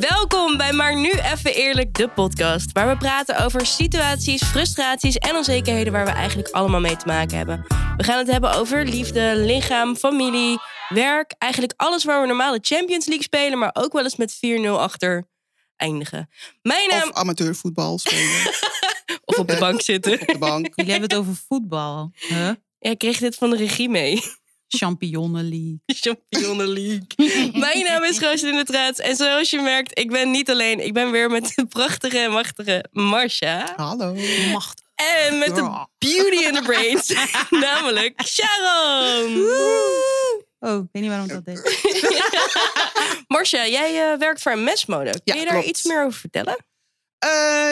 Welkom bij Maar Nu Even Eerlijk, de podcast. Waar we praten over situaties, frustraties en onzekerheden waar we eigenlijk allemaal mee te maken hebben. We gaan het hebben over liefde, lichaam, familie, werk. Eigenlijk alles waar we normale Champions League spelen, maar ook wel eens met 4-0 achter eindigen. Mijn naam... Of amateurvoetbal spelen. Of op de bank zitten. op de bank. Jullie hebben het over voetbal. Huh? Ja, ik kreeg dit van de regie mee. Champignonnenlie. Championnen League. Mijn naam is Roosje in de Traats. En zoals je merkt, ik ben niet alleen. Ik ben weer met de prachtige en machtige Marsha. Hallo. Macht. En met Oh. de Ja. beauty in the brains. namelijk Sharon. Oh, ik weet niet waarom ik dat deed. Marsha, jij eh, werkt voor Mesmode. Kun Ja, je daar klopt. iets meer over vertellen? Eh,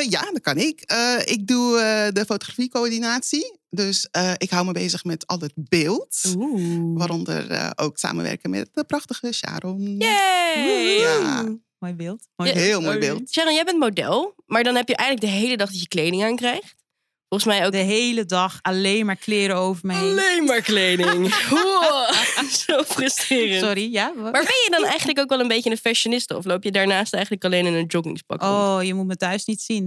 ja, dat kan ik. Eh, ik doe eh, de fotografiecoördinatie. Dus eh, ik hou me bezig met al het beeld. Oeh. Waaronder eh, ook samenwerken met de prachtige Sharon. Yay! Ja. Mooi beeld. Mooi Ja. beeld. Heel mooi beeld. Sharon, jij bent model. Maar dan heb je eigenlijk de hele dag dat je kleding aankrijgt. Volgens mij ook De hele dag alleen maar kleren over me heen. alleen maar kleding. Wow. Zo frustrerend. Sorry, ja? wat? Maar ben je dan eigenlijk ook wel een beetje een fashioniste? Of loop je daarnaast eigenlijk alleen in een joggingspak? rond? Oh, je moet me thuis niet zien.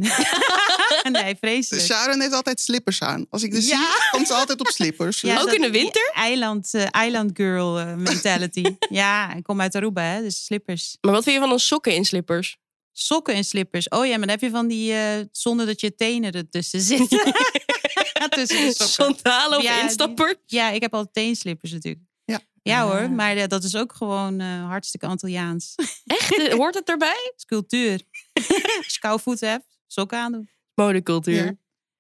nee, vreselijk. Sharon heeft altijd slippers aan. Als ik dus Ja. zie, komt ze altijd op slippers. Ja, Ook dat- in de winter? die Island, eh, island girl eh, mentality. ja, ik kom uit Aruba, hè, dus slippers. Maar wat vind je van ons sokken in slippers? Sokken en slippers. Oh ja, maar dan heb je van die eh, zonder dat je tenen ertussen zitten. Tussen de sokken. Sandalen of Ja, die- instapper? Ja, ik heb al teenslippers natuurlijk. Ja. Ja hoor, Ah. maar eh, dat is ook gewoon eh, hartstikke Antilliaans. Echt? Eh, Hoort het erbij? Het is cultuur. Als je koude voeten hebt, sokken aandoen. Modecultuur. Ja.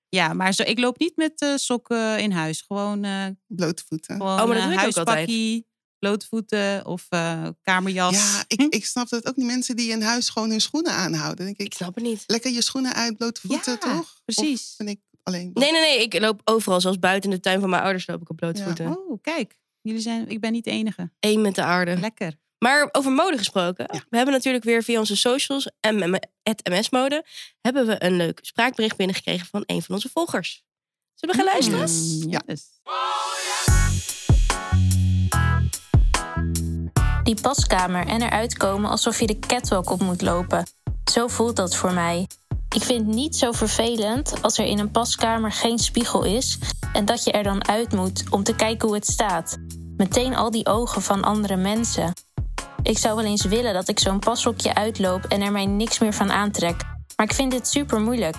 Ja, maar zo, ik loop niet met eh, sokken in huis. Gewoon, eh Blote voeten. gewoon Oh, dat eh, doe ik ook altijd. huispakkie, blote voeten of eh, kamerjas. Ja, ik, ik snap dat ook die mensen die in huis gewoon hun schoenen aanhouden. Dan denk Ik ik, snap het niet. lekker je schoenen uit, blote voeten, Ja, toch? Of precies. ben ik alleen. Nee, nee, nee. Ik loop overal. Zoals buiten in de tuin van mijn ouders loop ik op blote Ja. voeten. Oh, kijk. Jullie zijn, ik ben niet de enige. Eén met de aarde. Lekker. Maar over mode gesproken. Ja. We hebben natuurlijk weer via onze socials en MS Mode... hebben we een leuk spraakbericht binnengekregen van een van onze volgers. Zullen we gaan luisteren? Mm, Ja. yes. die paskamer en eruit komen alsof je de catwalk op moet lopen. Zo voelt dat voor mij. Ik vind het niet zo vervelend als er in een paskamer geen spiegel is en dat je er dan uit moet om te kijken hoe het staat. Meteen al die ogen van andere mensen. Ik zou wel eens willen dat ik zo'n pashokje uitloop en er mij niks meer van aantrek, maar ik vind dit super moeilijk.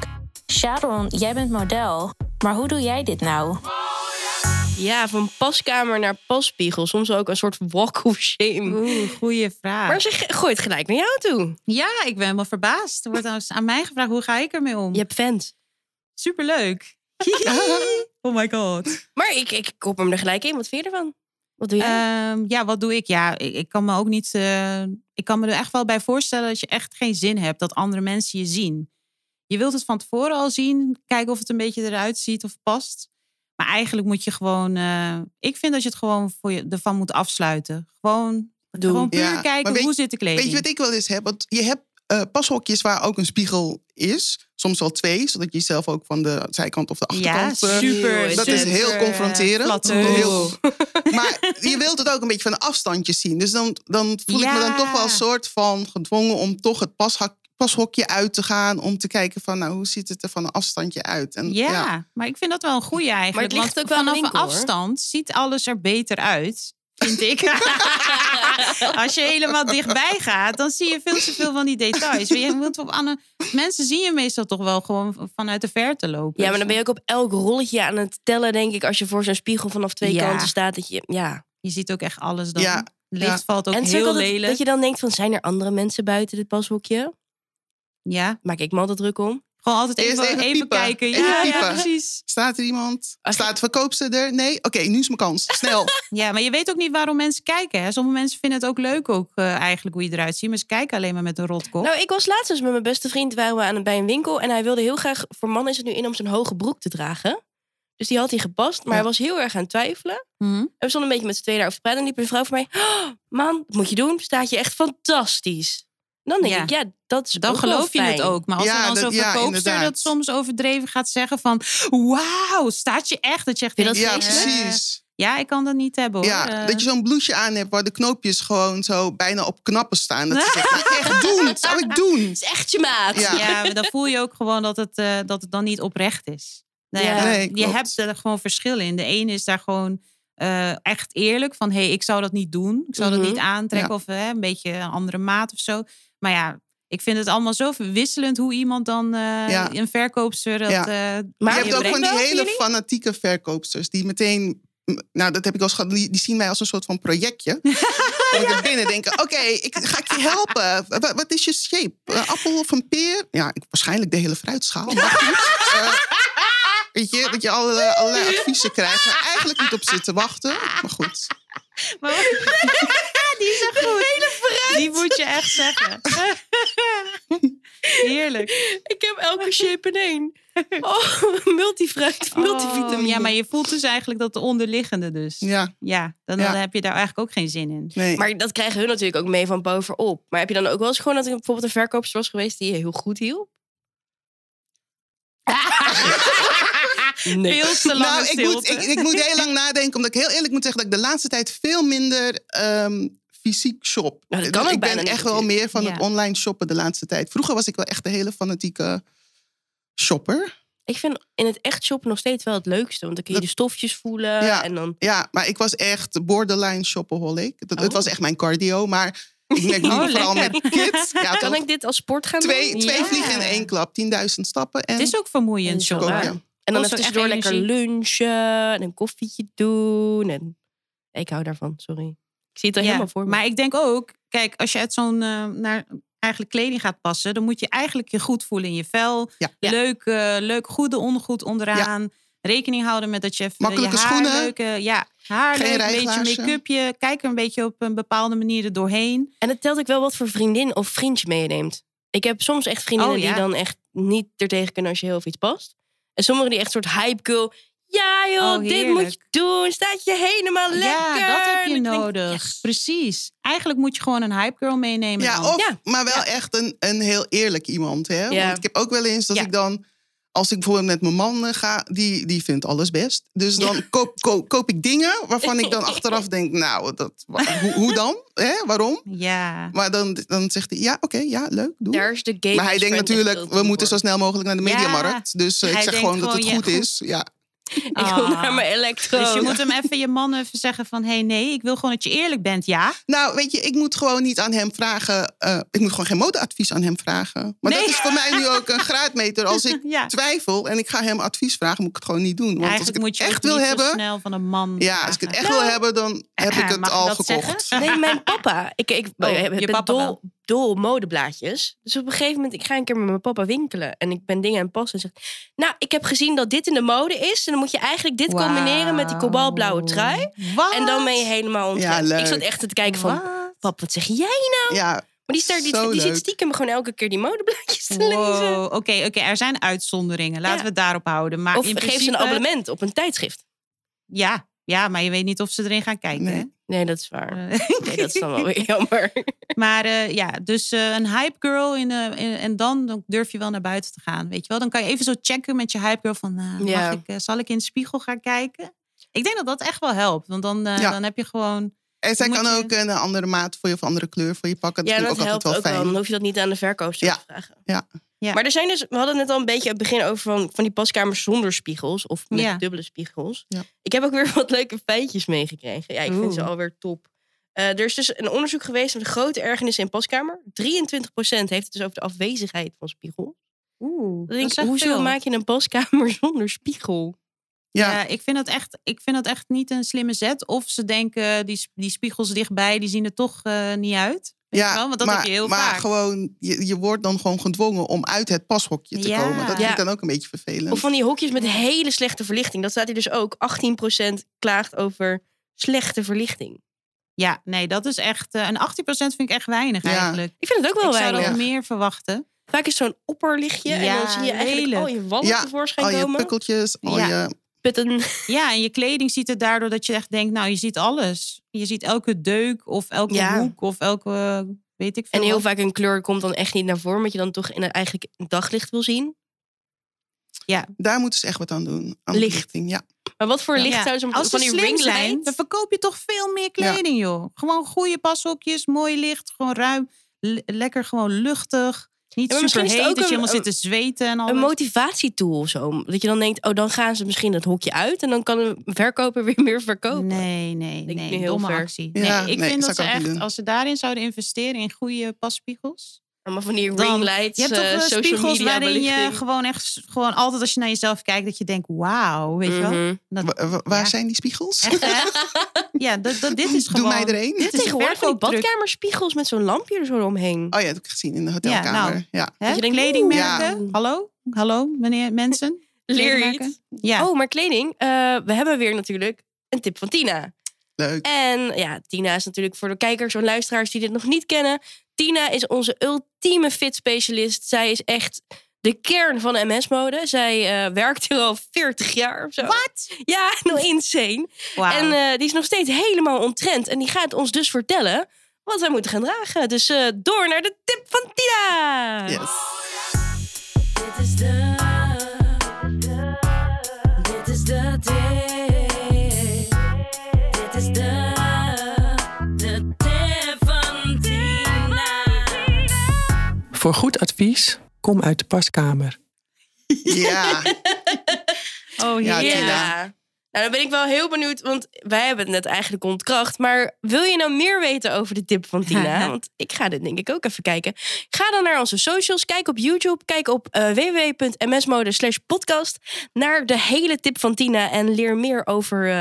Sharon, jij bent model, maar hoe doe jij dit nou? Ja, van paskamer naar paspiegel. Soms ook een soort walk of shame. Oeh, goede vraag. Maar ze ge- gooit gelijk naar jou toe. Ja, ik ben helemaal verbaasd. Er wordt aan- aan mij gevraagd, hoe ga ik ermee om? Je hebt fans. Superleuk. oh my god. Maar ik, ik kop hem er gelijk in. Wat vind je ervan? Wat doe jij? Ehm, ja, wat doe ik? Ja, ik, ik kan me ook niet... eh, ik kan me er echt wel bij voorstellen dat je echt geen zin hebt dat andere mensen je zien. Je wilt het van tevoren al zien. Kijken of het een beetje eruit ziet of past. Maar eigenlijk moet je gewoon... eh, ik vind dat je het gewoon voor je, ervan moet afsluiten. Gewoon, Doe. gewoon puur Ja, maar kijken weet- hoe zit de kleding. Weet je wat ik wel eens heb? Want je hebt eh, pashokjes waar ook een spiegel is. Soms wel twee, zodat je jezelf ook van de zijkant of de ja, achterkant... eh, super. dat is super, heel eh, confronterend. flatterend. Heel- maar je wilt het ook een beetje van een afstandje zien. Dus dan, dan voel ik me dan Ja. toch wel een soort van gedwongen... om toch het pashak- pashokje uit te gaan. Om te kijken van, nou, hoe ziet het er van een afstandje uit? En, Ja, maar ik vind dat wel een goeie eigenlijk. Maar het ligt want ook wel aan de vanaf winkel, een hoor. afstand ziet alles er beter uit. Vind ik. Als je helemaal dichtbij gaat, dan zie je veel te veel van die details. Maar Je moet op aan- Mensen zien je meestal toch wel gewoon vanuit de verte lopen. ja, maar dan ben je ook op elk rolletje aan het tellen, denk ik. Als je voor zo'n spiegel vanaf twee Ja. kanten staat. Dat je, ja. Je ziet ook echt alles dan. Ja, Licht ja. valt ook en het is ook heel altijd lelijk. dat je dan denkt van, zijn er andere mensen buiten dit pashoekje? Ja, Maak ik me altijd druk om. gewoon altijd Eerst even, even even, piepen. kijken. Even Ja, ja, piepen. precies. Staat er iemand? Als je- Staat de verkoopster er? Nee? Oké, nu is mijn kans. Snel. Ja, maar je weet ook niet waarom mensen kijken. Hè. Sommige mensen vinden het ook leuk ook, eh, eigenlijk hoe je eruit ziet. Maar ze kijken alleen maar met een rotkop. Nou, ik was laatst eens met mijn beste vriend waren we aan het, bij een winkel. En hij wilde heel graag, voor mannen is het nu in om zijn hoge broek te dragen. Dus die had hij gepast, maar Ja. hij was heel erg aan het twijfelen. Hm? En we stonden een beetje met z'n tweeën daarover te praten. En liep een vrouw voor mij. "Oh, man, dat moet je doen. Staat je echt fantastisch. Dan denk Ja. ik, ja, dat is dan ook wel geloof je het fijn. ook. Maar als Ja, er dan dat- zo'n ja, verkoopster inderdaad. dat soms overdreven gaat zeggen van... Wauw, staat je echt? Dat je echt Vind je dat denkt, ja, vreselijk? eh, precies. Ja, ik kan dat niet hebben hoor. Ja, Eh, dat je zo'n blouseje aan hebt waar de knoopjes gewoon zo bijna op knappen staan. Dat is echt doen, dat zou ik doen. Het is echt je maat. Ja. ja, maar dan voel je ook gewoon dat het, eh, dat het dan niet oprecht is. Nou ja, Ja. Nee, je klopt. hebt er gewoon verschillen in. De ene is daar gewoon eh, echt eerlijk van: hé, hey, ik zou dat niet doen. Ik zou Mhm. dat niet aantrekken of eh, een beetje een andere maat of zo. Maar ja, ik vind het allemaal zo wisselend hoe iemand dan eh, Ja. een verkoopster dat. Ja. eh, Maar je je hebt ook brengt. van die wel voor hele jullie? fanatieke verkoopsters die meteen. Nou, dat heb ik al eens gehad. Die, die zien mij als een soort van projectje. Kom ik er binnen denken: oké, ik ga ik je helpen. Wa- Wat, is je shape? Een appel of een peer? Ja, ik, waarschijnlijk de hele fruitschaal. Maar goed, eh, weet je, dat je allerlei, allerlei adviezen krijgt. Waar eigenlijk niet op zit te wachten. Maar goed. die is echt goed. Die moet je echt zeggen. Heerlijk. Ik heb elke shape in één. Oh, multifruit, multivitamine. Oh, ja, maar je voelt dus eigenlijk dat de onderliggende dus. Ja, Ja, dan, Ja. dan heb je daar eigenlijk ook geen zin in. nee. Maar dat krijgen hun natuurlijk ook mee van bovenop. Maar heb je dan ook wel eens gewoon dat er bijvoorbeeld een verkoopster was geweest die je heel goed hielp? nee. Veel te lange nou, ik moet, stilte. ik, ik moet heel lang nadenken. Omdat ik heel eerlijk moet zeggen dat ik de laatste tijd veel minder ehm, fysiek shop. Nou, dat kan ook ik ben bijna niet echt wel meer van het Ja. online shoppen de laatste tijd. Vroeger was ik wel echt de hele fanatieke shopper. Ik vind in het echt shoppen nog steeds wel het leukste. Want dan kun je de stofjes voelen. Ja. En dan... Ja, maar ik was echt borderline shopaholic. Dat, Het Oh. was echt mijn cardio. Maar ik merk nu Oh, vooral lekker. met kids. Ja, Kan toch? ik dit als sport gaan twee, doen? twee Ja. vliegen in één klap. 10.000 stappen. En Het is ook vermoeiend, Ja, ook, shopper. ja. En dan even kost ook echt tussendoor lekker energie. lunchen. En een koffietje doen. En... Ik hou daarvan, sorry. Ik zie het er Ja, helemaal voor me. Maar ik denk ook, kijk, als je uit zo'n eh, naar eigenlijk kleding gaat passen, dan moet je eigenlijk je goed voelen in je vel. Ja. Ja. Leuk, eh, leuk, goede, ongoed onderaan. Rekening houden met dat je even Makkelijke je haar schoenen. leuk, eh, ja, haar Geen leuk, een beetje rijglaarzen. make-upje. Kijk er een beetje op een bepaalde manier er doorheen. En het telt ook wel wat voor vriendin of vriendje meeneemt. Ik heb soms echt vriendinnen Oh, ja. die dan echt niet ertegen kunnen als je heel veel iets past. En sommigen die echt soort hype girl. Ja joh, Oh, dit heerlijk. moet je doen. Staat je helemaal Ah, lekker. Ja, dat heb En je ik denk, nodig. yes. Precies. Eigenlijk moet je gewoon een hype girl meenemen. Ja, dan. of, Ja. maar wel echt een, een heel eerlijk iemand. Hè? Ja. Want ik heb ook wel eens dat Ja. ik dan... Als ik bijvoorbeeld met mijn man eh, ga, die, die vindt alles best. Dus dan koop, koop, koop ik dingen waarvan ik dan achteraf denk... Nou, dat, wa- hoe, hoe dan? Hè? Waarom? ja. Maar dan, dan zegt hij, ja, oké, ja, leuk, doe. Daar is de game. maar hij denkt natuurlijk, we moeten zo snel mogelijk naar de Ja. mediamarkt. Dus eh, Hij ik zeg denkt gewoon dat het gewoon, goed ja, goed. is. Ja. Ik wil Ah. naar mijn elektro. Dus je moet hem even je man even zeggen van... hé, hey, nee, ik wil gewoon dat je eerlijk bent, ja? Nou, weet je, ik moet gewoon niet aan hem vragen... eh, ik moet gewoon geen modeadvies aan hem vragen. Maar Nee. dat is voor mij nu ook een graadmeter. Als ik ja. twijfel en ik ga hem advies vragen, moet ik het gewoon niet doen. Want als ik Eigenlijk het moet je echt ook wil niet hebben, zo snel van een man. ja, als ik het vragen. echt wil hebben, dan heb ik het Nou, eh, Mag ik al dat gekocht. zeggen? Nee, mijn papa. Ik, ik Oh, ik je ben papa dol, wel. dol op modeblaadjes. Dus op een gegeven moment, ik ga een keer met mijn papa winkelen. En ik ben dingen aan het passen. En zeg, nou, ik heb gezien dat dit in de mode is. En dan moet je eigenlijk dit combineren met die kobaltblauwe trui. Wat? En dan ben je helemaal Ja, ontzettend. leuk. ik zat echt te kijken van, Wat? pap, wat zeg jij? Nou, Ja, Maar die, staat, die, Zo die zit leuk. stiekem gewoon elke keer die modeblaadjes te lezen. Wow. Oké, oké, er zijn uitzonderingen. Laten Ja. we het daarop houden. Maar Of in geef ze principe, een abonnement op een tijdschrift. Ja, ja, maar je weet niet of ze erin gaan kijken. Nee. hè? Nee, dat is waar. Eh, Nee, dat is dan wel weer jammer. maar eh, ja, dus eh, een hype girl in, eh, in- en dan, dan durf je wel naar buiten te gaan, weet je wel. Dan kan je even zo checken met je hype girl van, eh, Ja. mag ik, eh, zal ik in de spiegel gaan kijken? Ik denk dat dat echt wel helpt, want dan, eh, Ja. dan heb je gewoon... en zij Moet kan je- ook een andere maat voor je of andere kleur voor je pakken. Dat Ja, vind dat ik ook helpt ook altijd wel wel. fijn. Dan hoef je dat niet aan de verkoopster Ja. te vragen. Ja. Ja. Maar er zijn dus, we hadden het al een beetje aan het begin over van, van die paskamers zonder spiegels of met Ja. dubbele spiegels. Ja. Ik heb ook weer wat leuke feitjes meegekregen. Ja, ik vind ze Oeh. alweer top. Eh, er is dus een onderzoek geweest van de grote ergernis in paskamer. 23% heeft het dus over de afwezigheid van spiegel. Oeh, Dan denk ik, hoezo maak je een paskamer zonder spiegel? Ja, Ja, Eh, ik, vind dat echt, ik vind dat echt niet een slimme zet. Of ze denken, die, sp- die spiegels dichtbij, die zien er toch eh, niet uit. Weet je ja wel? Want dat maar, heb je heel maar vaak. gewoon, je, je wordt dan gewoon gedwongen om uit het pashokje te Ja. komen. Dat Ja. vind ik dan ook een beetje vervelend. Of van die hokjes met hele slechte verlichting. Dat staat hier dus ook. 18% klaagt over slechte verlichting. Ja, nee, dat is echt... eh, een 18% vind ik echt weinig Ja. eigenlijk. Ik vind het ook wel Ik zou weinig. er ook meer verwachten. Vaak is zo'n opperlichtje en Ja, dan zie je eigenlijk lelijk. al je wallen Ja, tevoorschijn al je komen. pukkeltjes, al Ja. je... Putten. Ja, en je kleding ziet het daardoor dat je echt denkt... Nou, je ziet alles. Je ziet elke deuk of elke Ja. hoek of elke... Weet ik veel En heel wat. vaak een kleur komt dan echt niet naar voren, omdat je dan toch in het eigenlijk een daglicht wil zien. Ja. Daar moeten ze echt wat aan doen. Aan Licht. belichting, Ja. Maar wat voor licht Ja. zouden ze moeten- Als ze van die slim ringlights? zijn, dan verkoop je toch veel meer kleding, joh. Gewoon goede pashokjes, mooi licht, gewoon ruim, le- lekker gewoon luchtig. Niet Ja, maar misschien super is het heet, ook dat je een- helemaal een- zit te zweten en een alles. motivatietool of zo. Dat je dan denkt, oh, dan gaan ze misschien dat hokje uit. En dan kan een verkoper weer meer verkopen. Nee, nee, Denk ik nee. nu heel domme ver. actie. Nee, Ja, ik nee, vind zou dat ze ik ook niet echt, doen. als ze daarin zouden investeren in goede passpiegels. Maar van die Dan- ringlights, Je hebt toch eh, wel social spiegels media waarin je belichting. gewoon echt, s- gewoon altijd als je naar jezelf kijkt, dat je denkt, wauw, weet je wel. Mhm. Dat, Wa- wa- waar Ja. zijn die spiegels? echt, hè? Ja, dat, dat, dit is Doe gewoon... mij er één. Dit is Tegenwoordig van die verkooptruc. badkamerspiegels met zo'n lampje er zo omheen. Oh ja, dat heb ik gezien in de hotelkamer. Ja, nou. Dat Hè? je denkt, Kledingmerken. oeh. Hallo? Hallo, meneer mensen? Leer je Kledingmerken? iets? Ja. Oh, maar kleding. eh, we hebben weer natuurlijk een tip van Tina. leuk. En ja, Tina is natuurlijk voor de kijkers en luisteraars die dit nog niet kennen. Tina is onze ultieme fit specialist. Zij is echt de kern van MS-mode. Zij eh, werkt er al 40 jaar of zo. Wat? Ja, nou insane. Oh. Wauw. En eh, die is nog steeds helemaal ontrend. En die gaat ons dus vertellen wat wij moeten gaan dragen. Dus eh, door naar de tip van Tina. Eh. Yes. Dit is de. Dit is de tip. Dit is de. De tip van Tina. Voor goed advies, kom uit de paskamer. Ja. oh, Ja, ja. Tina. Nou, dan ben ik wel heel benieuwd, want wij hebben het net eigenlijk ontkracht. Maar wil je nou meer weten over de tip van Tina? Want ik ga dit denk ik ook even kijken. Ga dan naar onze socials, kijk op YouTube, kijk op eh, www.msmode slash podcast naar de hele tip van Tina en leer meer over eh,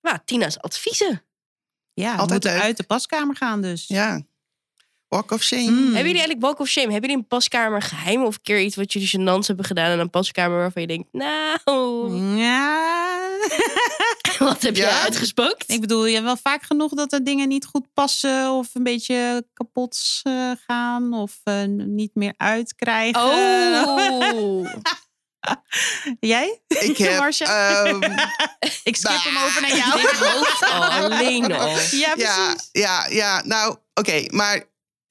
nou, Tina's adviezen. Hmm. ja we Altijd moeten leuk. uit de paskamer gaan dus. ja. Walk of shame. Mm. Hebben jullie eigenlijk Walk of Shame? Hebben jullie een paskamer geheim of een keer iets wat jullie gênants hebben gedaan en een paskamer waarvan je denkt, nou, Ja. wat heb je Hmm. Ja? uitgespookt? ik bedoel, je hebt wel vaak genoeg dat er dingen niet goed passen of een beetje kapot eh, gaan of eh, niet meer uitkrijgen. Oh, Jij? Ik heb... Marcia? ehm, Ik skip Bah. hem over naar dit jou. hoofd al, alleen al. Ja, ja, precies. ja, ja. Nou, oké, maar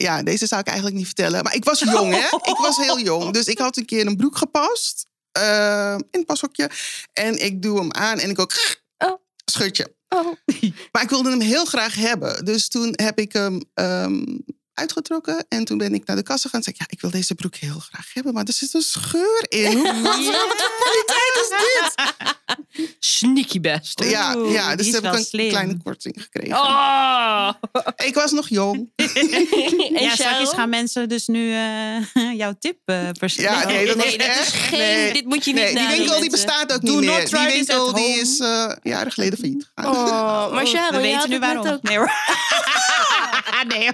ja, deze zou ik eigenlijk niet vertellen. Maar ik was jong, hè? Ik was heel jong. Dus ik had een keer een broek gepast. eh, in een pashokje. En ik doe hem aan en ik ook... Oh. Schutje. Oh. Maar ik wilde hem heel graag hebben. Dus toen heb ik hem ehm, uitgetrokken. En toen ben ik naar de kassa gaan en zei ik... Ja, ik wil deze broek heel graag hebben. Maar er zit een scheur in. Hoe Sneaky best. ja, Oeh, ja, dus die is toen heb wel ik een slim. kleine korting gekregen. Oh. Ik was nog jong. en ja, straks Cheryl? gaan mensen dus nu eh, jouw tip eh Ja, persoonlijk. nee, dat nee, was dat echt- is geen. nee. Dit moet je niet Nee, die nadoen, winkel die mensen. bestaat ook Do niet not meer. try Die this winkel at die home. is eh, jaren geleden failliet gegaan. Oh, maar Cheryl, we je weten had nu het net waarom. ook Nee, hoor. nee.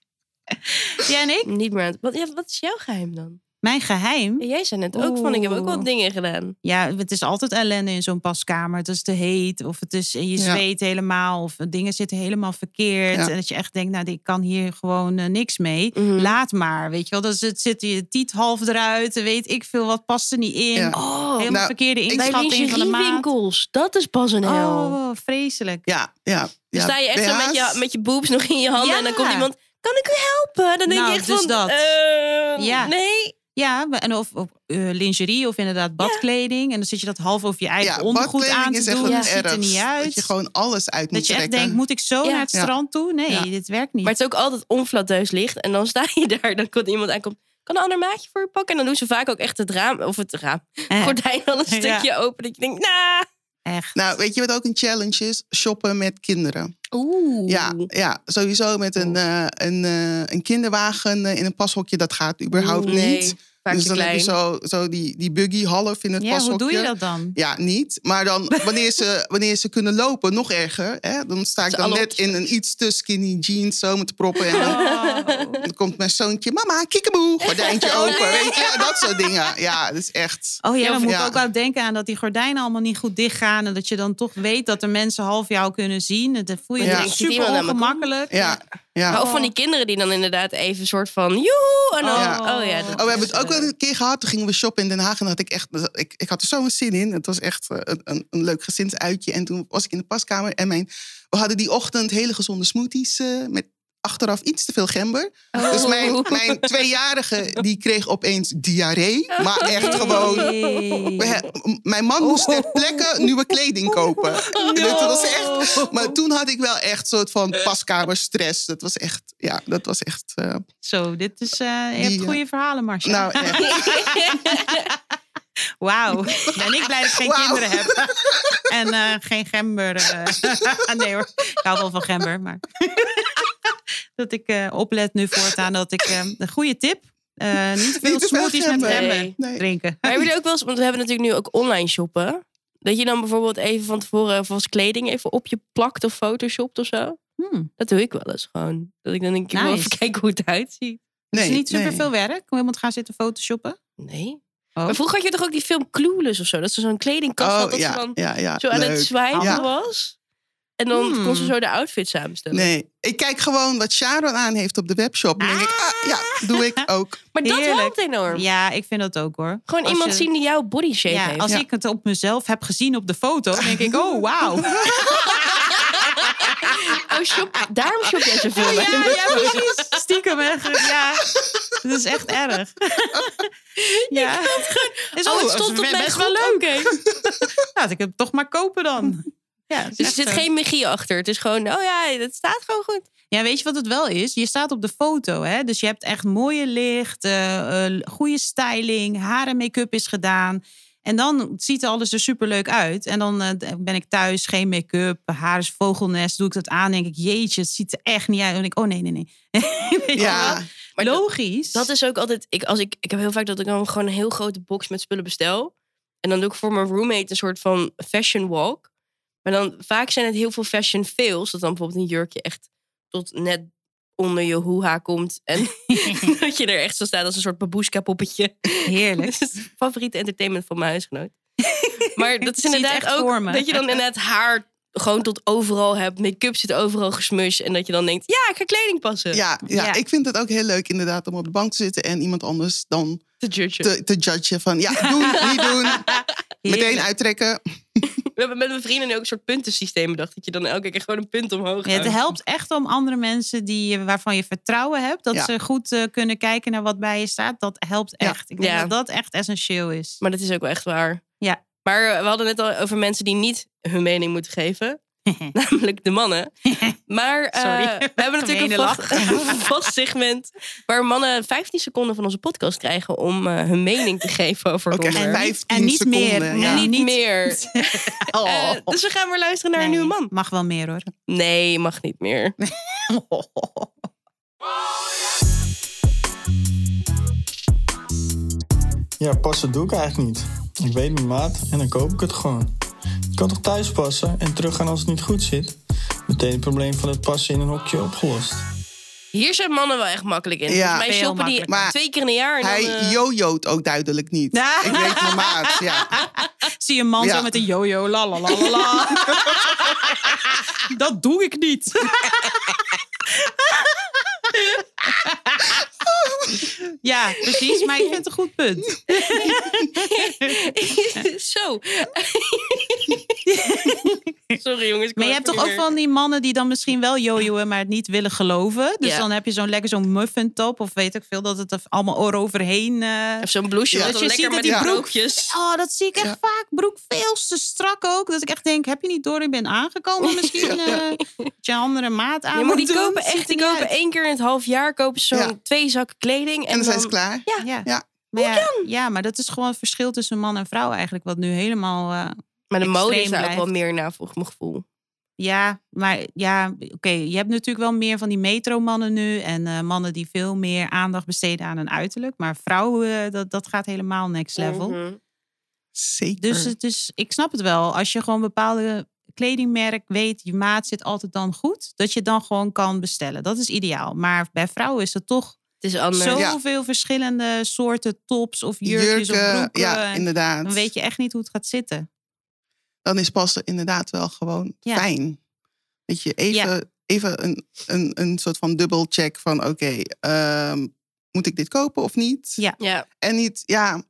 Jij en ik? Niet meer aan het- Wat, ja, wat is jouw geheim dan? Mijn geheim? Ja, Jij zei net ook van, ik heb ook wat Oeh. dingen gedaan. Ja, het is altijd ellende in zo'n paskamer. Het is te heet of het is, je Ja. zweet helemaal of dingen zitten helemaal verkeerd. Ja. En dat je echt denkt, nou, ik kan hier gewoon eh, niks mee. Mhm. Laat maar, weet je wel. Dus het zit je tiet half eruit, weet ik veel, wat past er niet in. Ja. Oh, Helemaal nou, verkeerde ik- bij inschatting van de maat. winkel's. Dat is pas een hel. Oh, vreselijk. Ja, ja. dan ja. sta je echt zo met BH's. je, met je boobs nog in je handen Ja. en dan komt iemand... Kan ik u helpen? Dan denk Nou, je echt dus van... dat. eh, Ja. Nee. Ja, maar- en of, of eh, lingerie of inderdaad badkleding. En dan zit je dat half over je eigen Ja, ondergoed badkleding aan te is doen. echt Ja. het Dat ziet er niet ergst. Dat uit. je gewoon alles uit moet Dat je echt trekken. denkt, moet ik zo Ja. naar het Ja. strand toe? Nee, Ja. dit werkt niet. Maar het is ook altijd onflatteus licht. En dan sta je daar, dan komt iemand aankomt. Kan een ander maatje voor je pakken? En dan doen ze vaak ook echt het raam, of het raam, Eh, gordijn al een Ja. stukje open. Dat je denkt, nou. echt. Nou, weet je wat ook een challenge is? Shoppen met kinderen. Oeh. Ja, ja sowieso met een, eh, een, eh, een kinderwagen eh, in een pashokje. Dat gaat überhaupt nee, niet. Vaak dus te dan klein. heb je zo, zo die, die buggy half in het eh, ja, pashokje. hoe doe je dat dan? Ja, niet. Maar dan wanneer ze, wanneer ze kunnen lopen, nog erger. Hè? Dan sta ik Ze dan alle net in een iets te skinny jeans zo met proppen. En dan, Oh. dan komt mijn zoontje, mama, kiekeboe, gordijntje open. Weet je, dat soort dingen. Ja, dat is echt... Oh ja, dan moet ik Ja. ook wel denken aan dat die gordijnen allemaal niet goed dichtgaan. En dat je dan toch weet dat er mensen half jou kunnen zien. En Dan voel je Ja. je Denkt, ziet super iemand aan me ongemakkelijk. Ja, Maar Oh, ja. ook van die kinderen die dan inderdaad even een soort van. Joehoe! En dan, Oh. oh, ja. dat Oh, we hebben is, het ook eh, wel een keer gehad. Toen gingen we shoppen in Den Haag. En had ik, echt, ik, ik had er zo'n zin in. Het was echt eh, een, een, een leuk gezinsuitje. En toen was ik in de paskamer. En mijn, we hadden die ochtend hele gezonde smoothies eh, met achteraf iets te veel gember. Oh. Dus mijn, mijn tweejarige die kreeg opeens diarree. Maar echt Oh. gewoon. Hey. We he- m- Mijn man moest Oh. ter plekke nieuwe kleding kopen. Dus Dat was echt, maar toen had ik wel echt een soort van paskamerstress. Dat was echt, ja, dat was echt. eh, Zo, dit is. eh, je Die, hebt eh, goede verhalen, Marcia. nou, echt. Wauw. Ben ik blij dat ik geen Wauw. kinderen heb. En eh, geen gember. eh. nee hoor, ik hou wel van gember. Maar dat ik eh, oplet nu voortaan dat ik... eh, een goede tip. eh, niet te veel Niet te veel smoothies met gember. gember Nee. Nee. drinken. Maar hebben jullie ook wel eens, want we hebben natuurlijk nu ook online shoppen. Dat je dan bijvoorbeeld even van tevoren volgens kleding even op je plakt of photoshopt of zo. Hmm. Dat doe ik wel eens gewoon. Dat ik dan denk, ik wil Nice. even kijken hoe het uitziet. Het is Nee, niet super nee. veel werk om iemand te gaan zitten photoshoppen. Nee. Oh. Maar vroeger had je toch ook die film Clueless of zo? Dat ze zo'n kledingkast had Oh, dat ja, ze dan ja, ja. zo aan het leuk. zwijgen Ja. was. En dan kon ze Hmm. zo de outfit samenstellen. Nee, ik kijk gewoon wat Sharon aan heeft op de webshop. En dan denk ik, ah, ja, doe ik ook. Maar dat Heerlijk. helpt enorm. Ja, ik vind dat ook hoor. Gewoon Als iemand je- zien die jouw body shape Ja, heeft. als Ja. ik het op mezelf heb gezien op de foto, dan denk ik, oh wauw. Oh, shop, daarom shop jij zoveel bij Ja, hem. ja, precies. Stiekem echt. Ja, dat is echt erg. Ja. Is Oh, ook- het is stond op best mijn wel goed, leuk. oké. Laat ik het toch maar kopen dan. Ja, Dus er zit geen magie achter. Het is gewoon, oh ja, dat staat gewoon goed. ja, weet je wat het wel is? Je staat op de foto, hè? Dus je hebt echt mooie licht, eh, eh, goede styling, haar en make-up is gedaan. En dan ziet alles er superleuk uit. En dan eh, ben ik thuis, geen make-up, haar is vogelnest. Doe ik dat aan, denk ik, jeetje, het ziet er echt niet uit. En dan denk ik, oh nee, nee, nee. Weet je Ja, wel? Maar dat- Logisch. Dat is ook altijd. Ik, als ik, ik heb heel vaak dat ik dan gewoon een heel grote box met spullen bestel. En dan doe ik voor mijn roommate een soort van fashion walk. Maar dan vaak zijn het heel veel fashion fails. Dat dan bijvoorbeeld een jurkje echt tot net onder je hoeha komt. En dat je er echt zo staat als een soort baboeska poppetje. heerlijk. Dat is het favoriete entertainment van mijn huisgenoot. Maar dat is zie het echt inderdaad voor ook me. dat je dan inderdaad haar gewoon tot overal hebt. Make-up zit overal gesmushed. En dat je dan denkt, ja, ik ga kleding passen. ja, ja, Ja. ik vind het ook heel leuk inderdaad om op de bank te zitten en iemand anders dan Te judgen. te, te judgen van ja, doen, niet doen, meteen Heerlijk. uittrekken. We hebben met mijn vrienden nu ook een soort puntensysteem bedacht. Dat je dan elke keer gewoon een punt omhoog Ja, gaat. het helpt echt om andere mensen die, waarvan je vertrouwen hebt, dat Ja. ze goed eh, kunnen kijken naar wat bij je staat. Dat helpt Ja. echt. Ik denk Ja. dat dat echt essentieel is. Maar dat is ook wel echt waar. Ja. Maar eh, we hadden het al over mensen die niet hun mening moeten geven. Namelijk de mannen. Maar eh, Sorry, we hebben natuurlijk een gemene vast, een vast segment... waar mannen 15 seconden van onze podcast krijgen... om eh, hun mening te geven over het Ook echt En onderwerp. vijf- vijftien en niet seconden. meer. En Ja. niet, Niet- meer. Oh. Eh, dus we gaan weer luisteren naar een Nee, nieuwe man. Mag wel meer hoor. Nee, mag niet meer. Ja, passen doe ik eigenlijk niet. Ik weet mijn maat en dan koop ik het gewoon. Ik kan toch thuis passen en teruggaan als het niet goed zit? Meteen het probleem van het passen in een hokje opgelost. Hier zijn mannen wel echt makkelijk in. Ja. Volgens mij Veel shoppen die makkelijker. Maar twee keer in een jaar. En dan, eh, Hij jojoot ook duidelijk niet. Ja. Ik weet mijn maat, ja. Zie je een man Ja. zo met een jojo, la la la la, la. dat doe ik niet. ja, precies. Maar ik vind het een goed punt. Zo. Sorry jongens. ik Maar je kan hebt even toch ook niet van die mannen die dan misschien wel jojoen, maar het niet willen geloven. Dus Ja. dan heb je zo'n lekker zo'n muffin top of weet ik veel, dat het er allemaal eroverheen... eh meer. Of zo'n blouseje. Ja, wat dat dan je lekker ziet met dat die die broek- broekjes. Oh, dat zie ik echt Ja. vaak. Broek veel te strak ook. Dat ik echt denk, heb je niet door? Ik ben aangekomen misschien. eh dat je een andere maat aan Ja, maar moet die doen. kopen Ziet echt, die er niet kopen uit. één keer in het half jaar kopen ze zo'n Ja. twee zakken kleding. En, En dan zijn ze klaar. Ja. Ja. Maar ja, ja, maar dat is gewoon het verschil tussen man en vrouw eigenlijk. Wat nu helemaal... eh, Maar de mode is Extreem daar ook wel blijft. meer naar, volgens mijn gevoel. ja, maar ja, oké. Je hebt natuurlijk wel meer van die metromannen nu. En eh, mannen die veel meer aandacht besteden aan hun uiterlijk. Maar vrouwen, eh, dat, dat gaat helemaal next level. Mhm. Zeker. Dus het is, ik snap het wel. Als je gewoon bepaalde kledingmerk weet, je maat zit altijd dan goed, dat je dan gewoon kan bestellen. Dat is ideaal. Maar bij vrouwen is er toch Het is anders. Ja. zoveel verschillende soorten tops of jurkjes of Jurken, broeken. ja, En inderdaad. dan weet je echt niet hoe het gaat zitten. dan is passen inderdaad wel gewoon Ja. fijn. Dat je even, even een, een, een soort van dubbelcheck van oké, ehm, moet ik dit kopen of niet? Ja. Ja. En niet, e, ja,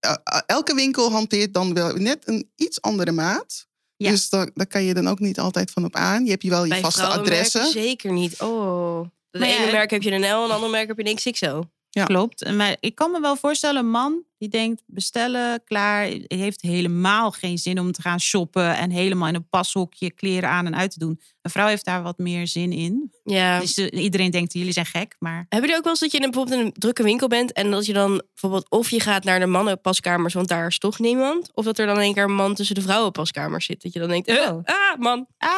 eh, elke winkel hanteert dan wel net een iets andere maat. Ja. Dus daar, daar kan je dan ook niet altijd van op aan. Je hebt hier wel je Bij vaste vrouwen adressen. merk je zeker niet. Oh. De Maar ja, ene het- merk heb je een L, en de andere merk heb je een XXL. Ja. Klopt. Maar ik kan me wel voorstellen, een man die denkt bestellen, klaar. Heeft helemaal geen zin om te gaan shoppen en helemaal in een pashokje kleren aan en uit te doen. Een vrouw heeft daar wat meer zin in. Ja. Dus eh, iedereen denkt, jullie zijn gek, maar Hebben jullie ook wel eens dat je in, een- bijvoorbeeld in een drukke winkel bent en dat je dan bijvoorbeeld of je gaat naar de mannenpaskamers, want daar is toch niemand, of dat er dan in één keer een man tussen de vrouwenpaskamers zit, dat je dan denkt, eh, Oh. ah man, ah.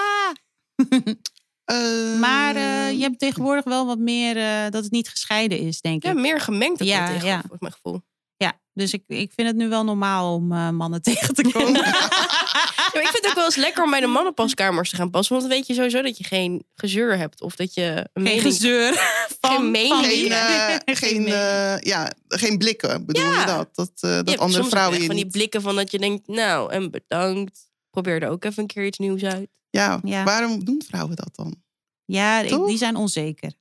Eh, Maar eh, je hebt tegenwoordig wel wat meer eh, dat het niet gescheiden is, denk ja ik. meer gemengd dat Ja, ja, tegen, ja. volgens mijn gevoel. Ja, dus ik, ik vind het nu wel normaal om eh, mannen tegen te komen. Ja, maar ik vind het ook wel eens lekker om bij de mannenpaskamers te gaan passen, want dan weet je sowieso dat je geen gezeur hebt of dat je een geen mening- gezeur. Van, mening. van geen, wie? eh, Geen geen, mening. eh, ja, geen blikken, bedoel Ja. je dat? Dat, eh, Je dat hebt andere soms vrouwen echt je van die niet... blikken van dat je denkt, nou en bedankt, probeer er ook even een keer iets nieuws uit. Ja. Ja. waarom doen vrouwen dat dan? Ja, ik- Toch? die zijn onzeker.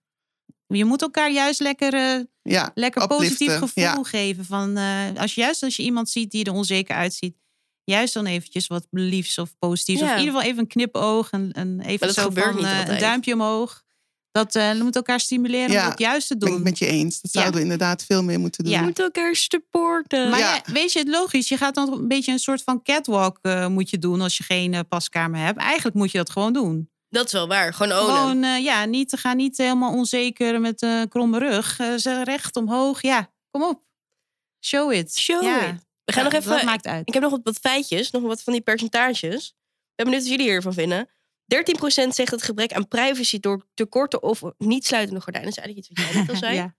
Je moet elkaar juist lekker, eh, Ja, lekker positief Upliften, ja. gevoel geven. Van, eh, als, je- juist als je iemand ziet die er onzeker uitziet. Juist dan eventjes wat liefs of positiefs. Of Ja. in ieder geval even een knipoog. Een, een, even dat zo gebeurt van, niet eh, een altijd. duimpje omhoog. Dat eh, we moeten elkaar stimuleren Ja, om dat juist te ben ik doen. met je eens. Dat Ja. zouden we inderdaad veel meer moeten doen. Je Ja. moet elkaar supporten. Maar Ja. ja, weet je het logisch? Je gaat dan een beetje een soort van catwalk eh, moet je doen als je geen eh, paskamer hebt. Eigenlijk moet je dat gewoon doen. dat is wel waar, gewoon ownen. Gewoon, eh, ja, niet, ga niet helemaal onzeker met eh kromme rug. Eh, ze recht omhoog. Ja, kom op. Show it. Show ja. it. We gaan Ja, nog even... Dat maakt uit. Ik heb nog wat, wat feitjes, nog wat van die percentages. Ik ben benieuwd wat jullie hiervan vinden. 13% zegt dat het gebrek aan privacy door tekorten of niet sluitende gordijnen. Dat is eigenlijk iets wat jij net al zei. Ja.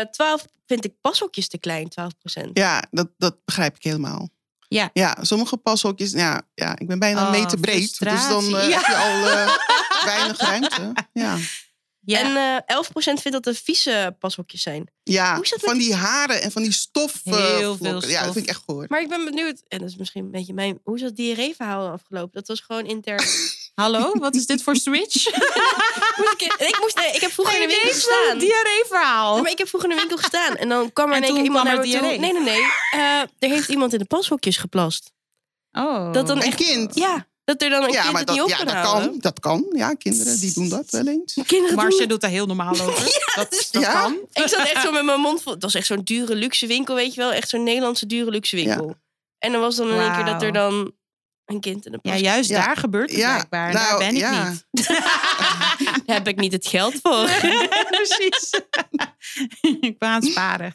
Eh, 12 vind ik pashokjes te klein, 12%. Ja, dat, dat begrijp ik helemaal. Ja. ja, sommige pashokjes, ja, ja, ik ben bijna een Oh, meter breed. Dus dan eh, frustratie. Ja. heb je al eh, weinig ruimte. Ja, Ja. En eh 11% vindt dat er vieze pashokjes zijn. ja Hoe is dat van met- die haren en van die stof. eh, Heel veel vlokken. Ja, dat stof. vind ik echt goor. Maar ik ben benieuwd, en dat is misschien een beetje mijn... Hoe is dat diarree-verhaal afgelopen? Dat was gewoon intern... Hallo, wat is dit voor switch? Moest ik, en ik, moest, nee, ik heb vroeger in de winkel Ineens wel gestaan. een diarreeverhaal. Ja, maar ik heb vroeger in de winkel gestaan. En dan kwam er in En één keer toen iemand kwam naar me er toe. Nee, diarree. nee, nee. Eh, er heeft iemand in de pashokjes geplast. Oh. Dat dan Een echt- kind. Ja, dat er dan een Ja, kind maar het dat, niet op ja, kan dat houden. kan. Dat kan. Ja, kinderen die doen dat wel eens. Kinderen doen Marcia het. doet daar heel normaal over. dat, dat Ja. kan. Ik zat echt zo met mijn mond vol. Dat was echt zo'n dure luxe winkel, weet je wel. Echt zo'n Nederlandse dure luxe winkel. En dan was dan in één keer dat er Wauw. dan een kind in de Ja, plas- juist Ja. daar gebeurt het Ja, blijkbaar. nou, daar ben ik ja. niet. Daar heb ik niet het geld voor. Precies. ik ben aan het sparen.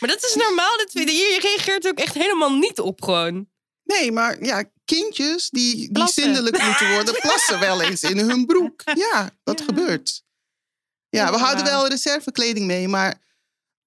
maar dat is normaal. Dat, hier reageert ook echt helemaal niet op gewoon. Nee, maar ja, kindjes die, die Plassen. zindelijk moeten worden, plassen wel eens in hun broek. Ja, dat Ja. gebeurt. Ja, we Ja. hadden wel reservekleding mee, maar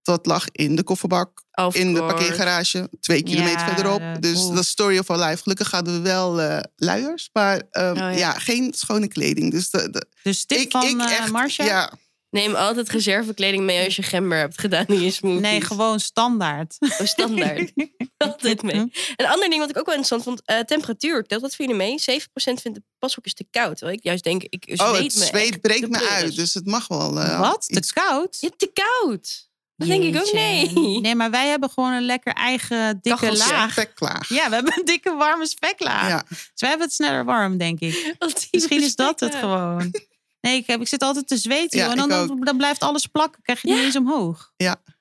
dat lag in de kofferbak, Of in de course. parkeergarage, twee kilometer Ja, verderop. dat- Dus oeh. dat is story of our life. Gelukkig hadden we wel eh, luiers, maar ehm, ja. ja. geen schone kleding. Dus de, de- Dus tip ik, van ik eh, echt, Marcia? Ja, Neem altijd reservekleding mee als je gember hebt gedaan in je smoothies. Nee, gewoon standaard. Hm. Oh, standaard. Altijd mee. Een ander ding wat ik ook wel interessant vond, eh, temperatuur. Telt wat voor jullie mee? 7% vindt de pashokjes te koud. Terwijl ik juist denk, ik zweet oh, me het zweet echt de breekt me pleuris. uit, dus het mag wel. eh, Wat? Te iets- koud? Ja, te koud. Dat denk ik ook, nee. Jeetje. Nee, maar wij hebben gewoon een lekker eigen dikke Kacheltje. laag. Perfect klaar. Ja, we hebben een dikke warme speklaag. Ja. Dus wij hebben het sneller warm, denk ik. Want die Misschien is dat het bespreekt- gewoon. Nee, ik, heb, ik zit altijd te zweten. Ja, joh. en dan, ik dan, dan blijft alles plakken. Krijg je niet eens omhoog.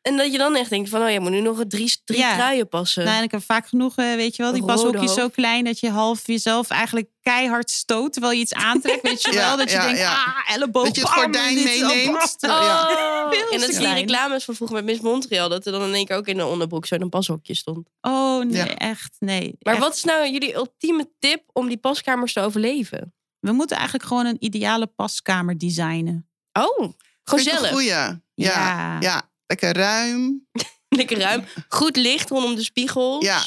En dat je dan echt denkt van, oh, je moet nu nog drie, drie Ja. truien passen. Nou, en ik heb vaak genoeg, eh, weet je wel, die Rode pashokjes zo hoofd. klein dat je half jezelf eigenlijk keihard stoot terwijl je iets aantrekt. Weet je Ja, wel, dat je ja, denkt, ja. ah, elleboog, Dat je het bam, gordijn dit is al meeneemt. bam. Oh, Ja. Veel en dat te zie je klein. reclames van vroeger met Miss Montreal. Dat er dan in één keer ook in een onderbroek zo'n pashokje stond. Oh nee, Ja. echt, nee. Maar Echt. wat is nou jullie ultieme tip om die paskamers te overleven? We moeten eigenlijk gewoon een ideale paskamer designen. Oh, gewoon Vind ik een zelf. goeie. Ja. Ja. lekker ruim. Lekker ruim. Goed licht rondom de spiegels. Ja.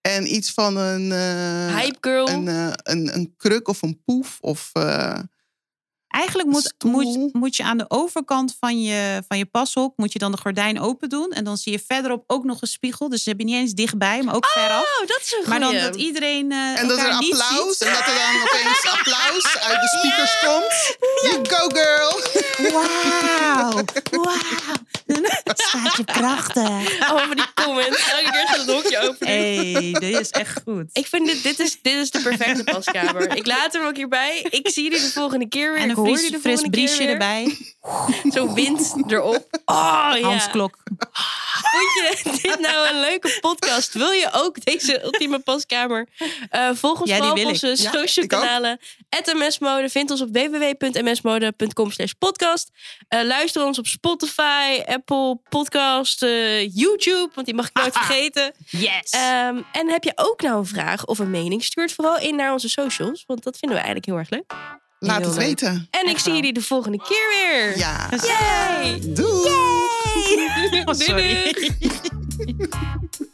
En iets van een, eh, Hype girl. een, eh, een, een kruk of een poef. Of, eh, Eigenlijk moet, Stoel. moet, moet je aan de overkant van je, van je pashok, moet je dan de gordijn open doen. En dan zie je verderop ook nog een spiegel. Dus heb je niet eens dichtbij, maar ook eh, veraf. Oh, dat is een goeie. Maar dan dat iedereen eh Ah, en dat er elkaar niet applaus. ziet. En dat er dan opeens applaus uit de speakers komt. You go girl. Wauw, wauw. Staat je krachtig. Oh, maar die comments. Elke keer gaat het hokje open. hey, dit is echt goed. Ik vind dit, dit is, dit is de perfecte paskamer. Ik laat hem ook hierbij. Ik zie jullie de volgende keer weer. en Ik een hoor fris, jullie de fris volgende keer briesje weer. erbij. Zo'n wind erop. Oh, ja. Hans Klok. Vond je dit nou een leuke podcast? Wil je ook deze ultieme paskamer? Eh volg ons Ja, die vooral op wil ik. onze Ja, social ik ook. kanalen. @msmode vind ons op www.msmode.com slash podcast. Eh, luister ons op Spotify, Apple Podcast, eh, YouTube. Want die mag ik nooit vergeten. Yes. Ehm, en heb je ook nou een vraag of een mening? Stuur het vooral in naar onze socials. Want dat vinden we eigenlijk heel erg leuk. Laat Heel het leuk. weten. En ik Echt zie wel. jullie de volgende keer weer. Ja. Yay! Doei. Oh, Doei, sorry. doei.